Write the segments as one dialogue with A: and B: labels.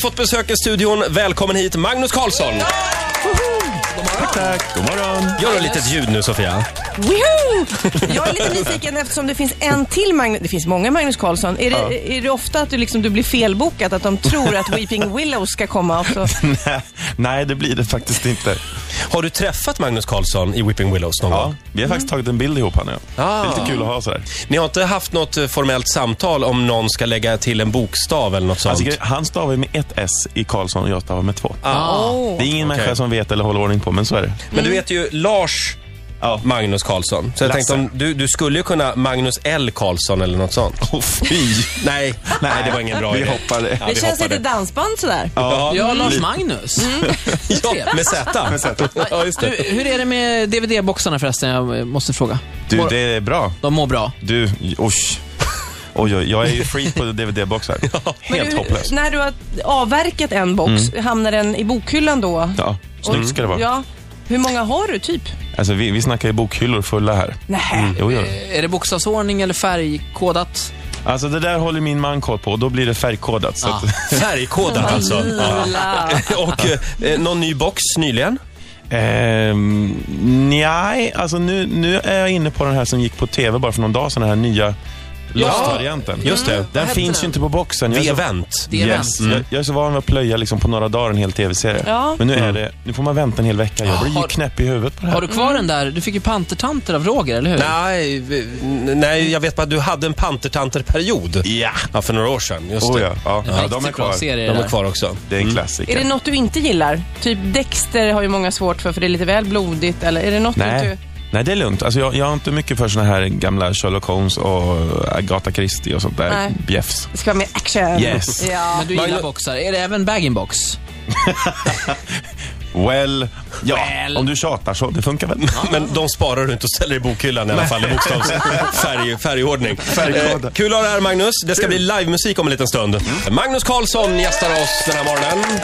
A: fått besök i studion. Välkommen hit Magnus Karlsson.
B: Tack, god morgon.
A: Gör ett litet ljud nu Sofia.
C: Woohoo! Jag är lite nyfiken eftersom det finns en till Magnus, det finns många Magnus Karlsson. Är det, är det ofta att du, liksom, du blir felbokad, att de tror att Weeping Willows ska komma? Och så,
B: Nej, Nej, det blir det faktiskt inte.
A: Har du träffat Magnus Karlsson i Whipping Willows någon
B: Ja,
A: gång?
B: vi har faktiskt tagit en bild ihop här nu.
A: Ah.
B: Det är lite kul att ha så här.
A: Ni har inte haft något eh, formellt samtal om någon ska lägga till en bokstav eller något sånt?
B: Alltså, gre- han stavar ju med ett S i Karlsson och jag stavar med två.
A: Ah.
C: Åh.
B: Det är ingen människa som vet eller håller ordning på, men så är det.
A: Men du heter ju Lars
B: Ja.
A: Magnus Karlsson. Så jag
B: Lasse.
A: tänkte om du, du skulle ju kunna Magnus L Karlsson eller något sånt.
B: Åh, fy.
A: Nej, nej det var ingen bra
B: Vi
A: idé.
B: hoppar det.
A: vi
C: det känns
A: hoppar
C: lite
A: det.
C: dansband sådär.
A: Ja,
D: Ja, Lars Magnus.
A: ja, med Z. Ja, just
D: Du,
A: det.
D: hur är det med DVD-boxarna förresten? Jag eh, måste fråga.
B: Du,
D: Mår-
B: det är bra.
D: De mår bra.
B: Du, oj. Oj, oj, jag är ju freak på DVD-boxar. Helt
C: du,
B: hopplös.
C: När du har avverkat en box, hamnar den i bokhyllan då?
B: Ja, snyggt ska det vara.
C: Ja. Hur många har du typ?
B: Alltså, vi, vi snackar ju bokhyllor fulla här. Mm,
C: Nähä.
B: Jo, jo.
D: Eh, Är det bokstavsordning eller färgkodat?
B: Alltså, det där håller min man koll på och då blir det färgkodat.
A: Ah.
B: Så att,
A: Färgkodat alltså. Ja.
C: Lilla.
A: Och eh, någon ny box nyligen?
B: Ehm, nej, alltså nu, nu är jag inne på den här som gick på tv bara för någon dag sedan, den här nya Lost-varianten.
A: just det.
B: Den
D: Vad hette
B: finns
D: den?
B: ju inte på boxen. Jag är, så,
A: Vevent.
D: Det är
B: yes,
D: vänt.
B: jag, jag är så van vid att plöja liksom på några dagar en hel tv-serie.
C: Ja.
B: Men nu, är det, nu får man vänta en hel vecka. Jag blir ju
D: Har-
B: knäpp i huvudet på det här.
D: Har du kvar den där? Du fick ju pantertanter av Roger, eller hur?
A: Nej, v- n- nej, jag vet bara att du hade en pantertanterperiod.
B: Ja.
A: Ja, för några år sedan. Just
B: Oh,
A: det.
B: ja. Ja.
D: En
B: ja,
D: riktigt
B: de är
D: Bra
B: kvar.
D: serie,
A: De
D: det
A: är
D: där.
A: kvar också.
B: Det är en
C: Är
B: klassiker.
C: det något du inte gillar? Typ Dexter har ju många svårt för, för det är lite väl blodigt. Eller är det något du
B: Nej.
C: inte...
B: Nej, det är lugnt. Alltså, jag, jag har inte mycket för såna här gamla Sherlock Holmes och Agatha Christie och sånt där
C: Nej.
B: bjäfs.
C: Det ska vara mer action.
B: Yes.
C: Ja.
D: Men du gillar boxar. Är det även bag-in-box?
B: Well, ja,
D: Well.
B: om du tjatar så. Det funkar väl.
A: Men de sparar du inte och ställer i bokhyllan i alla fall i bokstavs färg, färgordning.
B: Färgkoda.
A: Eh, kul att ha dig här Magnus. Det ska bli livemusik om en liten stund.
B: Mm.
A: Magnus Karlsson gästar oss den här morgonen.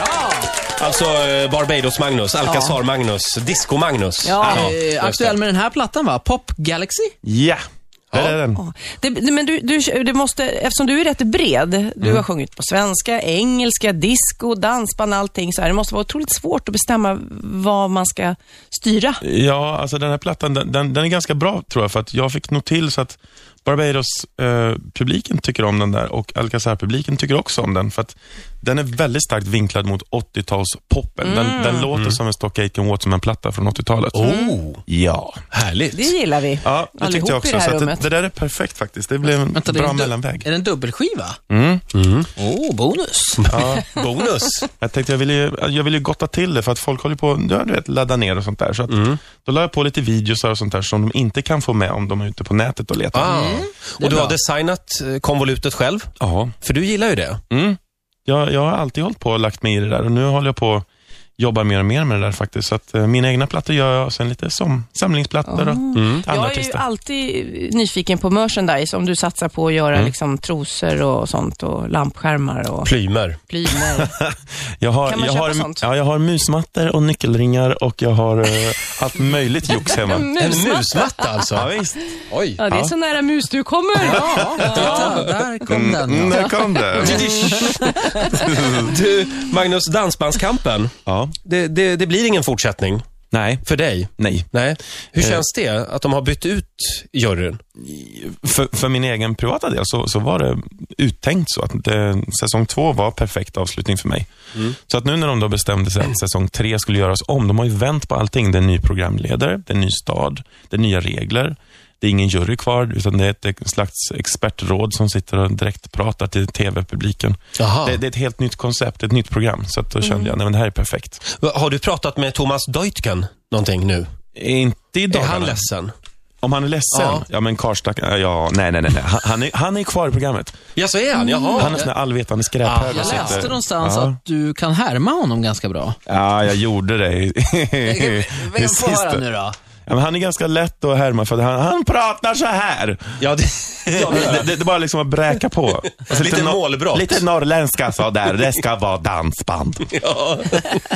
A: Alltså eh, Barbados-Magnus, Alcazar-Magnus, Disco-Magnus.
D: Ja, eh,
A: just
D: aktuell
A: det.
D: med den här plattan va? Pop Galaxy?
B: Ja, där är den.
C: Det, det- men du, du, det måste, eftersom du är rätt bred, du
B: Mm.
C: har sjungit på svenska, engelska, disco, dansband, allting så här. Det måste vara otroligt svårt att bestämma vad man ska styra.
B: Ja, alltså den här plattan den, den, den är ganska bra tror jag för att jag fick nog till så att Barbados-publiken tycker om den där och Alcazar-publiken tycker också om den för att den är väldigt starkt vinklad mot 80-talspoppen. Den, den låter som en Stock Aitken Waterman-platta från 80-talet.
A: Oh,
B: Ja.
C: Det
A: härligt.
C: gillar vi.
B: Ja, det
C: Allihop
B: tyckte jag
C: i
B: också.
C: det här
B: så att
C: rummet.
B: det, det där är perfekt faktiskt. Det blev en
D: Vänta, det är
B: bra
D: en du-
B: mellanväg.
D: Är det en dubbelskiva? Mm. Oh, bonus.
A: Bonus.
B: Jag tänkte jag ville, ju, jag ville ju gotta till det för att folk håller på ja, du vet, ladda ner och sånt där. Så att, Då la jag på lite videos och sånt där som de inte kan få med om de är ute på nätet och letar.
A: Ah. Och du
D: bra.
A: har designat eh, konvolutet själv.
B: Ja.
A: För du gillar ju det.
B: Mm. Jag, jag har alltid hållit på och lagt mig i det där och nu håller jag på och jobbar mer och mer med det där faktiskt. Så att eh, mina egna plattor gör jag och sen lite som samlingsplattor och andra
C: Jag är ju
B: artister.
C: alltid nyfiken på merchandise, om du satsar på att göra
B: Mm.
C: liksom, trosor och sånt och lampskärmar och
A: Plymer.
C: plymer.
B: Jag har,
C: Kan man
B: jag
C: köpa
B: har,
C: sånt?
B: Ja, jag har musmattor och nyckelringar och jag har eh, allt möjligt jox hemma. Mm,
A: En musmatta alltså.
B: Ja, visst.
A: Oj.
C: Ja, det är så nära mus du kommer.
D: Ja, titta, där kom den.
B: Mm, där kom det.
A: Du, Magnus, Dansbandskampen.
B: Ja.
A: Det, det, det blir ingen fortsättning
B: Nej,
A: för dig.
B: nej.
A: Nej. Hur
B: Eh.
A: känns det att de har bytt ut juryn?
B: För, för min egen privata del så, så var det uttänkt så att det, säsong två var perfekt avslutning för mig.
A: Mm.
B: Så att nu när de då bestämde sig att säsong tre skulle göras om, de har ju vänt på allting. Det är en ny programledare, det är en ny stad, det är nya regler. Det är ingen jury kvar, utan det är ett ett slags expertråd som sitter och direkt pratar till tv-publiken.
A: Jaha.
B: Det, det är ett helt nytt koncept, ett nytt program. Så att då kände jag, nej men det här är perfekt.
A: Har du pratat med Thomas Deutgen någonting nu?
B: Inte i
A: Är
B: dagarna.
A: han ledsen?
B: Om han är ledsen?
A: Ja.
B: Ja, men Karlstad, ja, nej, nej, nej. nej. Han, han, är, han är kvar i programmet.
A: Ja, så är han. Jaha.
B: Mm. Han är sån där allvetande skräphög.
D: Jag
B: och sitter-
D: läste någonstans
B: ja.
D: att du kan härma honom ganska bra.
B: Ja, jag gjorde det. i- i
D: Vem får
B: sista.
D: höra nu då?
B: Ja, men han är ganska lätt att härma för att han, han pratar så här.
A: Ja, det... ja,
B: Det, det, det är bara liksom att bräka på. Alltså,
A: Lite
B: nor-
A: målbrott.
B: Lite norrländska så där. Det ska vara dansband.
A: ja.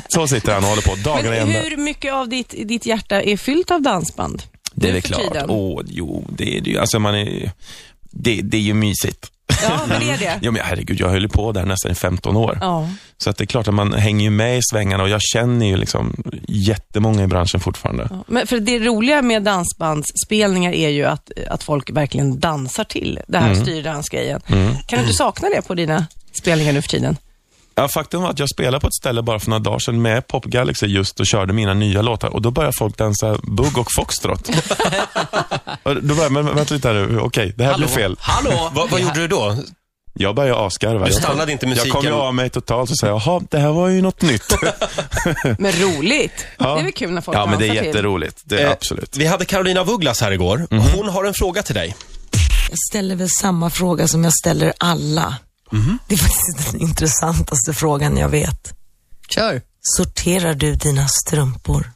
B: Så sitter han och håller på dagarna
C: Men
B: ända.
C: hur mycket av ditt, ditt hjärta är fyllt av dansband?
B: Det är
C: nu
B: väl
C: för
B: klart.
C: tiden?
B: Åh, jo, det är det ju. Alltså man är det, det är ju mysigt.
C: Ja, men det är det.
B: Ja, men herregud, jag höll ju på där nästan i 15 år.
C: Ja.
B: Så att det är klart att man hänger ju med i svängarna och jag känner ju liksom jättemånga i branschen fortfarande.
C: Men för det roliga med dansbandsspelningar är ju att, att folk verkligen dansar till det här
B: Mm.
C: styrdansgrejen. Kan du inte sakna det på dina spelningar nu för tiden?
B: Ja, faktum var att jag spelade på ett ställe bara för några dagar sedan med Pop Galaxy just och körde mina nya låtar och då började folk dansa bugg och foxtrot. Och då började jag, men vänta lite här nu, okej, det här blev fel.
D: Hallå!
A: Vad, vad gjorde du då?
B: Jag började asgarva.
A: Du
B: Jag-
A: stannade inte musiken.
B: Jag kom ju av mig totalt och sa, jaha, det här var ju något nytt.
C: Men roligt!
B: Ja.
C: Det är väl kul när folk
B: ja, men det
C: dansar
B: är
C: till.
B: jätteroligt. Det är
A: Eh,
B: absolut. Mhm.
A: Vi hade Carolina Vugglas här igår. Hon har en fråga till dig.
E: Jag ställer väl samma fråga som jag ställer alla. Det är faktiskt den intressantaste frågan jag vet.
D: Kör!
E: Sorterar du dina strumpor?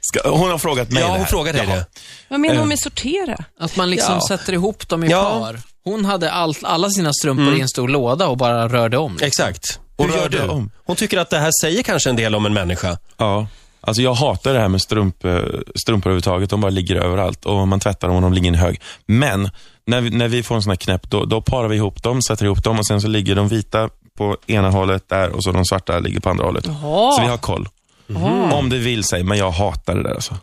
B: Ska, hon har frågat mig
A: Ja,
B: det
A: hon
B: här.
A: frågade dig
B: Jaha.
A: det.
C: Vad menar
B: Eh.
C: hon med sortera?
D: Att man liksom
B: Ja.
D: sätter ihop dem i
A: Ja.
D: par. Hon hade allt, alla sina strumpor i en stor låda och bara rörde om.
A: Exakt. Och
B: Hur gör
A: rör
B: du?
A: du? Hon tycker att det här säger kanske en del om en människa.
B: Ja. Alltså jag hatar det här med strump, eh, strumpor överhuvudtaget. De bara ligger överallt och man tvättar dem och de ligger i en hög. Men när vi, när vi får en sån här knäpp, då, då parar vi ihop dem, sätter ihop dem och sen så ligger de vita på ena hållet där och så de svarta ligger på andra hållet. Så vi har Mm. koll. Om det vill sig, men jag hatar det där alltså.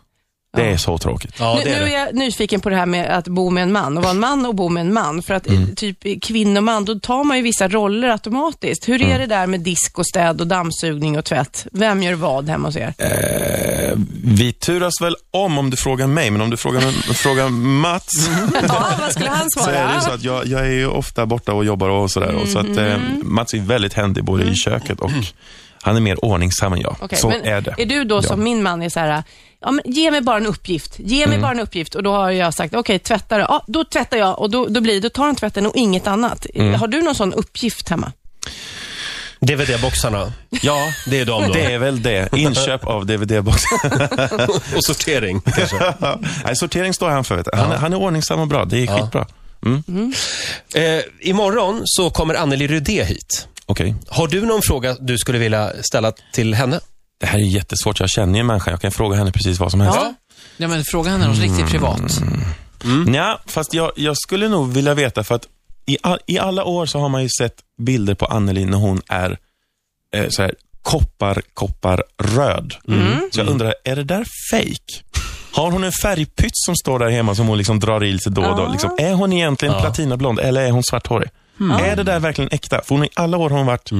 B: Det är så tråkigt.
A: Ja,
C: nu, nu är jag nyfiken på det här med att bo med en man och vara en man och bo med en man. För att eh,
B: Mm.
C: typ i kvinnoman, då tar man ju vissa roller automatiskt. Hur
B: Mm.
C: är det där med disk och städ och dammsugning och tvätt? Vem gör vad hemma hos er?
B: Vi turas väl om om du frågar mig, men om du frågar, frågar Mats
C: ja, vad skulle han
B: så är det ju
C: svara?
B: så att jag, jag är ju ofta borta och jobbar och sådär. Och så att, eh,
C: Mm-hmm.
B: Mats är väldigt händig både i köket och han är mer ordningsam än jag.
C: Mm. Okej,
B: så
C: men
B: är det.
C: Är du då
B: Ja.
C: som min man är så här, ja, men ge mig bara en uppgift, ge mig
B: Mm.
C: bara en uppgift och då har jag sagt, okej tvätta det. Ja, då tvättar jag och då, då blir det, då tar han tvätten och inget annat.
B: Mm.
C: Har du någon sån uppgift hemma?
A: DVD-boxarna.
B: Ja,
A: Det är de då.
B: det är väl det. Inköp av DVD-boxar.
A: Och sortering kanske.
B: Nej, sortering står han för. Vet du. Han, är- han är ordningsam och bra. Det är skitbra.
A: eh, imorgon så kommer Anneli Rudé hit.
B: Okej.
A: Har du någon fråga du skulle vilja ställa till henne?
B: Det här är jättesvårt. Jag känner ju människan. Jag kan fråga henne precis vad som helst.
D: Ja. Ja, men fråga henne något riktigt privat.
B: Nja, fast jag, jag skulle nog vilja veta för att i, all, i alla år så har man ju sett bilder på Anneli när hon är eh, så här, koppar, koppar, röd. Så jag undrar, är det där fake? Har hon en färgpytt som står där hemma som hon liksom drar i lite då och då? Liksom, är hon egentligen platinablond eller är hon svarthårig? Är det där verkligen äkta? För hon, i alla år har hon varit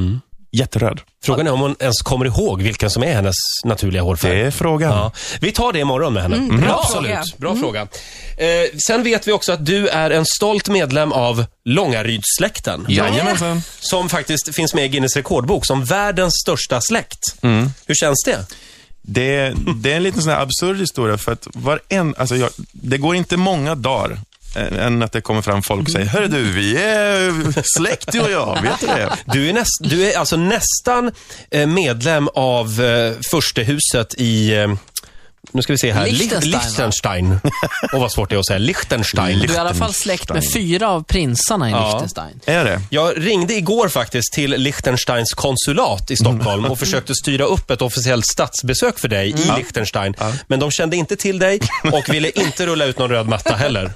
B: jätteröd.
A: Frågan är om hon ens kommer ihåg vilken som är hennes naturliga hårfärg.
B: Det är frågan.
A: Ja. Vi tar det imorgon med henne.
C: Mm, bra
A: Absolut.
C: fråga.
A: Bra fråga. Eh, sen vet vi också att du är en stolt medlem av Långarydssläkten.
B: Jajamensan.
A: Som faktiskt finns med i Guinness rekordbok som världens största släkt. Hur känns det?
B: Det, det är en liten sån här absurd historia för att varen, alltså jag, det går inte många dagar ä- än att det kommer fram folk och säger, hörru du, vi är släkt du och jag, vet du det?
A: Du är, näst, du är alltså nästan eh, medlem av eh, furstehuset i, eh, nu ska vi se här,
D: Liechtenstein, va? Mm.
A: Liechtenstein. Och vad svårt det är att säga, Liechtenstein.
D: Du är i alla fall släkt med fyra av prinsarna i Liechtenstein.
B: Är det?
A: Jag ringde igår faktiskt till Liechtensteins konsulat i Stockholm och försökte styra upp ett officiellt statsbesök för dig i Liechtenstein. Men de kände inte till dig och ville inte rulla ut någon röd matta heller.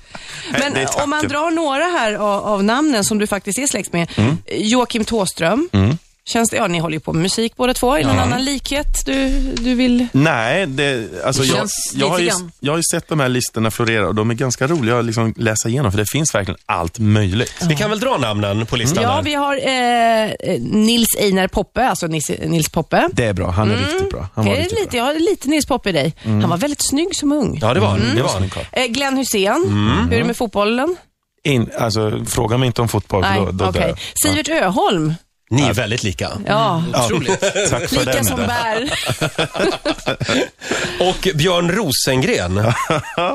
B: det är
C: Men
B: ett
C: om man
B: faktum.
C: drar några här av, av namnen som du faktiskt är släkt med.
B: Mm.
C: Joakim Tåström. Känns det, ja, ni håller ju på med musik båda två. Är det någon annan likhet du, du vill...
B: Nej, det, alltså
D: Det
B: jag,
D: känns
B: jag, har ju,
D: lite grann.
B: jag har ju sett de här listorna florera och de är ganska roliga att liksom läsa igenom för det finns verkligen allt möjligt.
A: Vi kan väl dra namnen på listan
C: Ja,
A: här.
C: vi har eh, eh, Nils Einar Poppe, alltså Nils, Nils Poppe.
B: Det är bra, han är riktigt bra. Han var Mm.
C: Är Mm. det
B: riktigt
C: lite, jag har lite Nils Poppe i dig. Han var väldigt snygg som ung.
A: Ja, det var han. Det var han.
C: Eh, Glenn Hussein,
B: Mm.
C: hur är det med fotbollen?
B: bra. In, alltså, fråga mig inte om fotboll, för då, då dör
C: okej.
B: jag.
C: Sivert Öholm.
A: Ni är väldigt lika.
C: Ja,
B: Ja, tack Mm. för
C: lika
B: den.
C: som bär.
A: Och Björn Rosengren.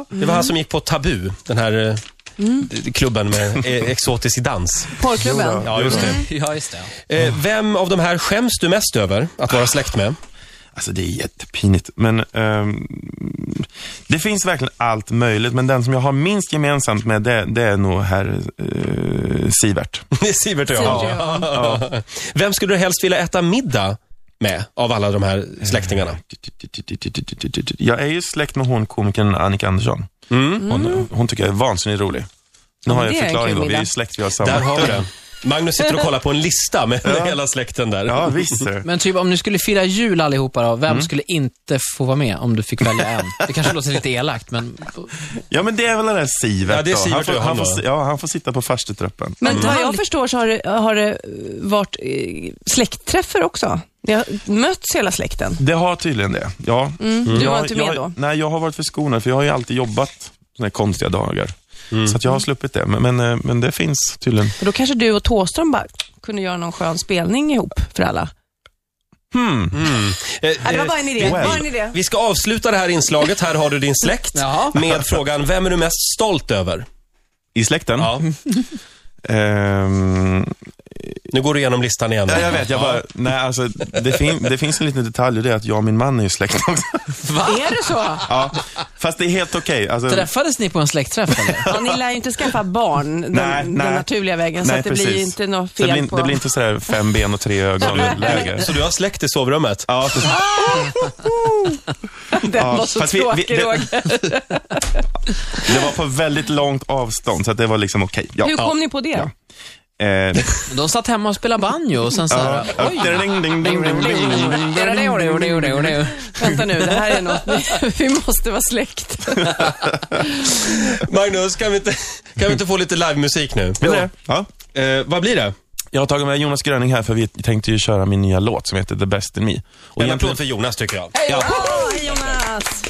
A: Det var han som gick på Tabu, den här eh, d- klubben med eh, exotisk dans.
C: Porrklubben.
A: Ja, just det.
D: Ja, just det.
A: Eh, Vem av de här skäms du mest över att vara släkt med?
B: Alltså det är jättepinigt, men ehm, det finns verkligen allt möjligt. Men den som jag har minst gemensamt med, det, det är nog herr eh, Sivert.
A: Det är Sivert och jag.
C: Sivert och
A: Ja. Vem skulle du helst vilja äta middag med av alla de här släktingarna?
B: Jag är ju släkt med hon komikern Annika Andersson.
A: Mm.
B: Hon, hon tycker jag är vansinnigt rolig. Nu har jag
C: Mm.
B: en
C: det är en
B: förklaring då,
C: kul
B: vi är
C: middag.
B: ju släkt, vi har
A: Där
B: samma.
A: har vi det. Magnus sitter och kollar på en lista med, med hela släkten där.
B: Ja, visst. du.
D: Men typ om ni skulle fira jul allihopa då, vem skulle inte få vara med om du fick välja en? Det kanske låter lite elakt, men...
B: Ja, men det är väl den där Sivert
A: Ja, det är
B: då.
A: Sivert
B: han, får,
A: och
B: han,
A: han
B: får,
A: då.
B: si- ja, han får sitta på farstutröppen.
C: Men vad
B: Mm.
C: jag förstår så har det, har det eh, varit eh, släktträffar också. Ni har mötts hela släkten. Mm.
B: Det har tydligen det, Mm. ja.
C: Du var
B: Jag-
C: inte med
B: jag,
C: då?
B: Nej, jag har varit förskonad, för jag har ju alltid jobbat såna här konstiga dagar.
C: Mm.
B: Så att jag har sluppit det, men, men, eh, men det finns tydligen.
C: Och då kanske du och Thåström bara kunde göra någon skön spelning ihop för alla.
B: Hmm.
A: Eh,
C: Nej, det var
A: eh,
C: bara en idé.
B: well.
C: Bara en idé.
A: Vi ska avsluta det här inslaget, här har du din släkt,
D: Ja.
A: med frågan, vem är du mest stolt över?
B: I släkten?
A: Ja,
B: Ehm,
A: nu går du igenom listan igen.
B: ja, jag vet, jag bara, nej, alltså, det, fin, det finns en liten detalj och det är att jag och min man är ju släkt också.
C: Är det så?
B: Ja, fast det är helt okej. Alltså,
D: Träffades ni på en släktträff eller?
C: Ja, ni lär ju inte skaffa barn den,
B: Nej,
C: den
B: nej.
C: naturliga vägen, så
B: nej,
C: att det blir ju
B: precis.
C: inte något
B: det
C: fel
B: blir,
C: på...
B: Det blir inte sådär fem ben och tre ögon läge.
A: Så du har släkt i sovrummet?
B: Ja, precis.
C: Den
B: Ja,
C: var så
B: fast vi- vi-
C: tråkig,
B: det-
C: Roger.
B: det var på väldigt långt avstånd, så att det var liksom okej.
C: Hur
B: Ja.
C: kom ni på det?
B: Ja. Eh,
D: De satt hemma och spelade banjo och sen så här,
B: ja.
D: oj.
B: Ding, ding, ding, ding, ding, ding.
C: Vänta nu, det här är något. ni- Vi måste vara släkt.
A: Magnus, kan vi inte, kan vi inte få lite livemusik nu?
B: Vill du det? Ja.
A: Eh, vad blir det?
B: Jag har tagit med Jonas Gröning här för vi tänkte ju köra min nya låt som heter The Best In Me. Och
A: En
B: egentligen,
A: applåd för Jonas tycker jag.
C: Ja. Hej Jonas!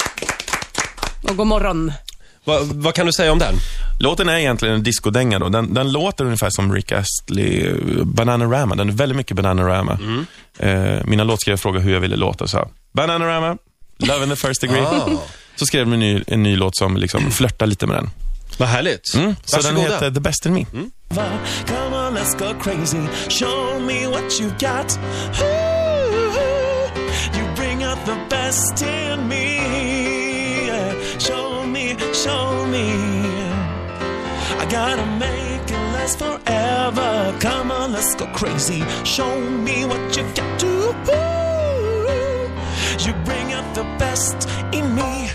C: Och god morgon.
A: Va, vad kan du säga om den?
B: låten är egentligen en discodänga då. Den, den låter ungefär som Rick Astley, eh, Bananarama. Den är väldigt mycket Bananarama. Eh, mina låtskrivare frågade hur jag ville låta så här. Bananarama, Love in the first degree. Så skrev vi en ny, en ny låt som liksom flörtar lite med den.
A: Vad härligt.
B: Mm. Så den
A: Varsågoda.
B: heter The Best In Me.
F: Come on, let's go crazy. Show me what you got. Ooh, you bring out the best in me. Yeah. Show me, show me. I gotta make it last forever. Come on, let's go crazy. Show me what you got to. Ooh, you bring out the best in me.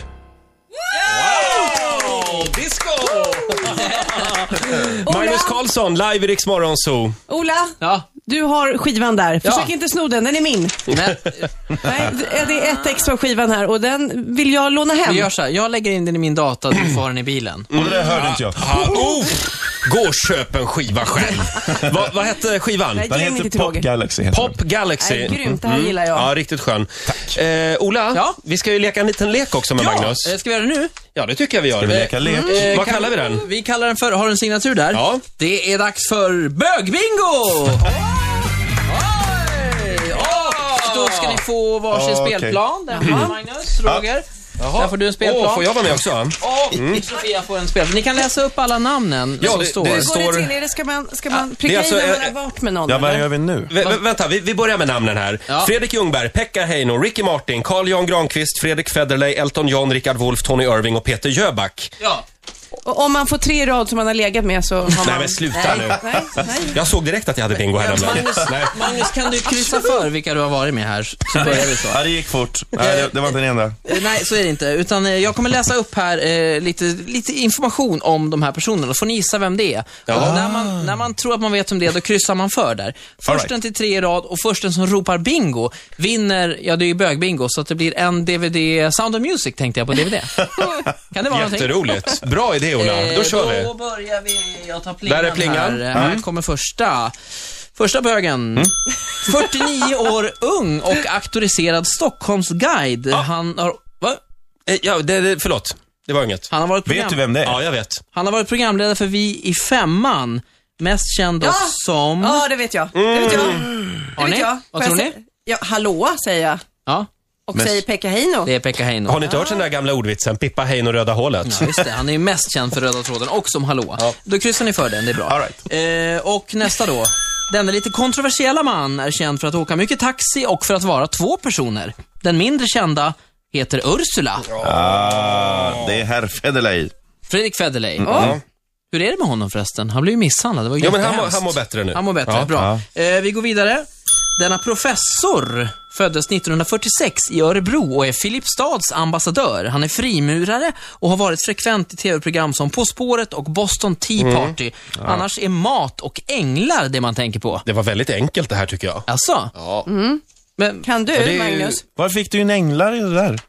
A: Wow! Disco! Magnus Karlsson, live i Rix Morgon Zoo.
C: Ola,
D: Ja,
C: du har skivan där.
D: Ja.
C: Försök inte sno den, den är min.
D: men
C: Nej, det är ett ex från skivan här och den vill jag låna hem.
D: vi gör så här. Jag lägger in den i min data, du får ha den i bilen.
B: Och det där hörde inte jag.
A: Ah, oh! Gå och köp en skiva själv. Va, vad hette skivan?
C: Nej,
B: Den
C: Ge den
B: heter
C: inte till
B: Pop
C: Roger.
B: Galaxy. Heter
A: Pop Galaxy.
C: Nej, grymt, det här gillar jag.
A: Ja, riktigt skön. Tack. Eh, Ola,
D: Ja?
A: vi ska ju leka en liten lek också med Magnus.
D: Eh, Ska vi göra det nu?
A: Ja, det tycker jag vi gör.
B: Ska vi leka lek?
A: Eh,
D: Eh,
A: vad
D: kan-
A: kallar vi den?
D: Vi kallar den för, har du en signatur där?
A: Ja.
D: Det är dags för bögbingo! Oj! Och då ska ni få varsin
B: Ja, okej.
D: spelplan. Där får Magnus, Roger. Där får du en spelplan.
A: Mm. Åh, får jag vara med också?
D: Och Sofia får en spelplan. Ni kan läsa upp alla namnen
A: Ja,
D: som
A: det-
D: står.
A: det-
C: Hur går
A: Står-
C: det till? Är det, ska man, ska man pricka
A: alltså,
C: i när man
A: eh,
C: har varit med någon?
B: Ja, vad
C: eller?
B: gör vi nu?
A: Vä vä- vänta, vi, vi börjar med namnen här.
D: Ja.
A: Fredrik Ljungberg, Pekka Heino, Ricky Martin, Carl Jan Granqvist, Fredrik Federley, Elton John, Richard Wolff, Tony Irving och Peter Jöback.
D: Ja.
C: Och om man får tre i rad som man har legat med så har man...
A: Nej, men sluta
C: nej,
A: nu.
C: Nej, nej.
A: Jag såg direkt att jag hade bingo häromdagen.
D: Magnus, Magnus, kan du kryssa för vilka du har varit med här? Så börjar vi så.
B: Ja, det gick fort. Nej, det, det var inte den enda.
D: Eh, Nej, så är det inte. Utan eh, jag kommer läsa upp här eh, lite, lite information om de här personerna. Då får ni gissa vem det är. Och när, man, när man tror att man vet vem det är, då kryssar man för där. Försten till tre i rad och försten som ropar bingo vinner, ja det är ju bögbingo, så att det blir en DVD, Sound of Music tänkte jag på DVD. kan det vara någonting?
A: Jätteroligt. Bra idé, Ola. Då
D: Eh,
A: kör
D: Då
A: vi.
D: börjar vi. Jag tar plingan,
A: Där är plingan. Mm.
D: här. Eh, Här kommer första. Första bögen. 49 år ung och auktoriserad Stockholmsguide.
A: Ah.
D: Han har... Va?
A: Eh, Ja, det, det, förlåt. Det var inget.
D: Han har varit program...
B: Vet du vem det är?
A: Ja, jag vet.
D: Han har varit programledare för Vi i femman. Mest känd då
C: Ja.
D: som...
C: Ja, det vet jag. Det vet jag. Det
D: Har
C: vet
D: ni?
C: jag.
D: Vad
C: Får
D: tror
C: jag
D: ni?
C: se- Ja, hallå säger jag.
D: Ja,
C: Och
B: Men-
C: säger Pekka Heino.
D: det är Pekka Heino.
A: Har ni inte hört den där gamla ordvitsen? Pippa Heino Röda Hålet.
D: Ja, just det. Han är ju mest känd för Röda tråden och som Hallå. Då kryssar ni för den, det är bra.
B: All right.
D: eh, och nästa då. Denna lite kontroversiella man är känd för att åka mycket taxi och för att vara två personer. Den mindre kända heter Ursula.
B: Ah, det är herr Federley.
D: Fredrik Federley. Hur är det med honom förresten? Han blev ju misshandlad. Det var ju
A: Ja, men han, mår-
D: jättehemskt.
A: han mår bättre nu.
D: Han mår bättre, bra. Eh, vi går vidare. Denna professor föddes 1946 i Örebro och är Filipstads ambassadör. Han är frimurare och har varit frekvent i tv-program som På spåret och Boston Tea
A: Mm.
D: Party. Annars är mat och änglar det man tänker på.
A: Det var väldigt enkelt det här tycker jag.
D: Alltså,
A: Ja.
D: men...
C: Mm. Kan du,
A: det är ju-
C: Magnus?
B: Var fick du en änglar i det där?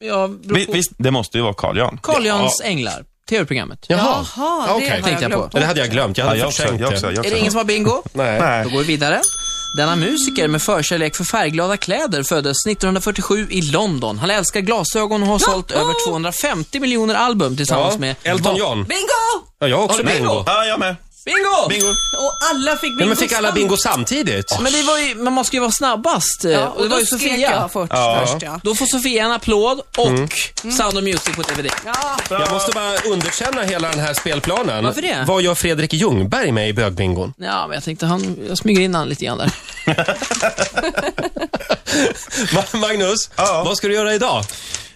D: Ja,
B: Vi,
D: beror på.
B: visst, det måste ju vara Carl Jan.
D: Carl Jans änglar, tv-programmet.
A: Jaha,
C: Jaha,
A: okej.
C: det har jag
D: Tänkte jag
C: glömt
A: Ja, Det hade jag glömt. Jag
B: Ja,
A: hade
B: jag också,
A: förträngt
B: jag också,
A: det.
B: jag
D: Är
B: också.
D: det ingen som har bingo?
A: Nej.
D: Då
B: Nej.
D: går vi vidare. Denna musiker med förkärlek för färgglada kläder föddes 1947 i London. Han älskar glasögon och har sålt över 250 miljoner album tillsammans
A: Ja.
D: med...
A: Elton John.
C: Bingo!
A: Ja, jag har också
D: Har du bingo?
A: bingo.
B: Ja, jag med.
D: Bingo!
B: Bingo.
C: Och alla fick bingo
A: Nej, men fick alla bingo samtidigt?
D: Men det var ju, men man ska ju vara snabbast.
C: Ja,
D: Eh, och det var ju Sofia.
C: jag först. Mm.
B: Ja.
C: först ja.
D: Då får Sofia en applåd och
A: Mm.
D: Sound of Music på DVD.
C: Ja,
A: Jag måste bara underkänna hela den här spelplanen.
D: Varför det?
A: Vad gör Fredrik Ljungberg med i bögbingon?
D: Ja, men jag tänkte han, jag smyger in han lite grann där.
A: Va, Magnus,
B: Ja.
A: vad ska du göra idag?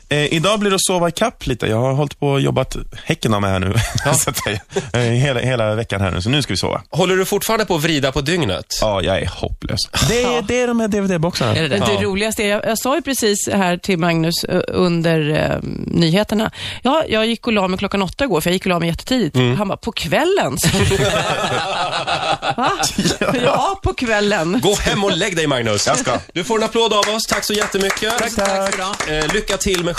B: Eh, idag blir det att sova ikapp lite. Jag har hållit på och jobbat häcken av mig här nu. så att säga. Eh, hela, hela veckan här nu, så nu ska vi sova.
A: Håller du fortfarande på att vrida på dygnet?
B: Ja, jag är hopplös. Det är, det är de här DVD-boxarna.
D: Är det det?
C: Det roligaste är, jag, jag sa ju precis här till Magnus eh, under eh, nyheterna. Ja, jag gick och la mig klockan åtta igår, för jag gick och la mig jättetidigt.
D: Mm.
C: Han bara, på kvällen? sa han. Va? Ja, på kvällen.
A: Gå hem och lägg dig Magnus.
B: Jag ska.
A: Du får en applåd av oss. Tack så jättemycket.
B: Tack, tack.
D: Bra.
A: Eh, lycka till med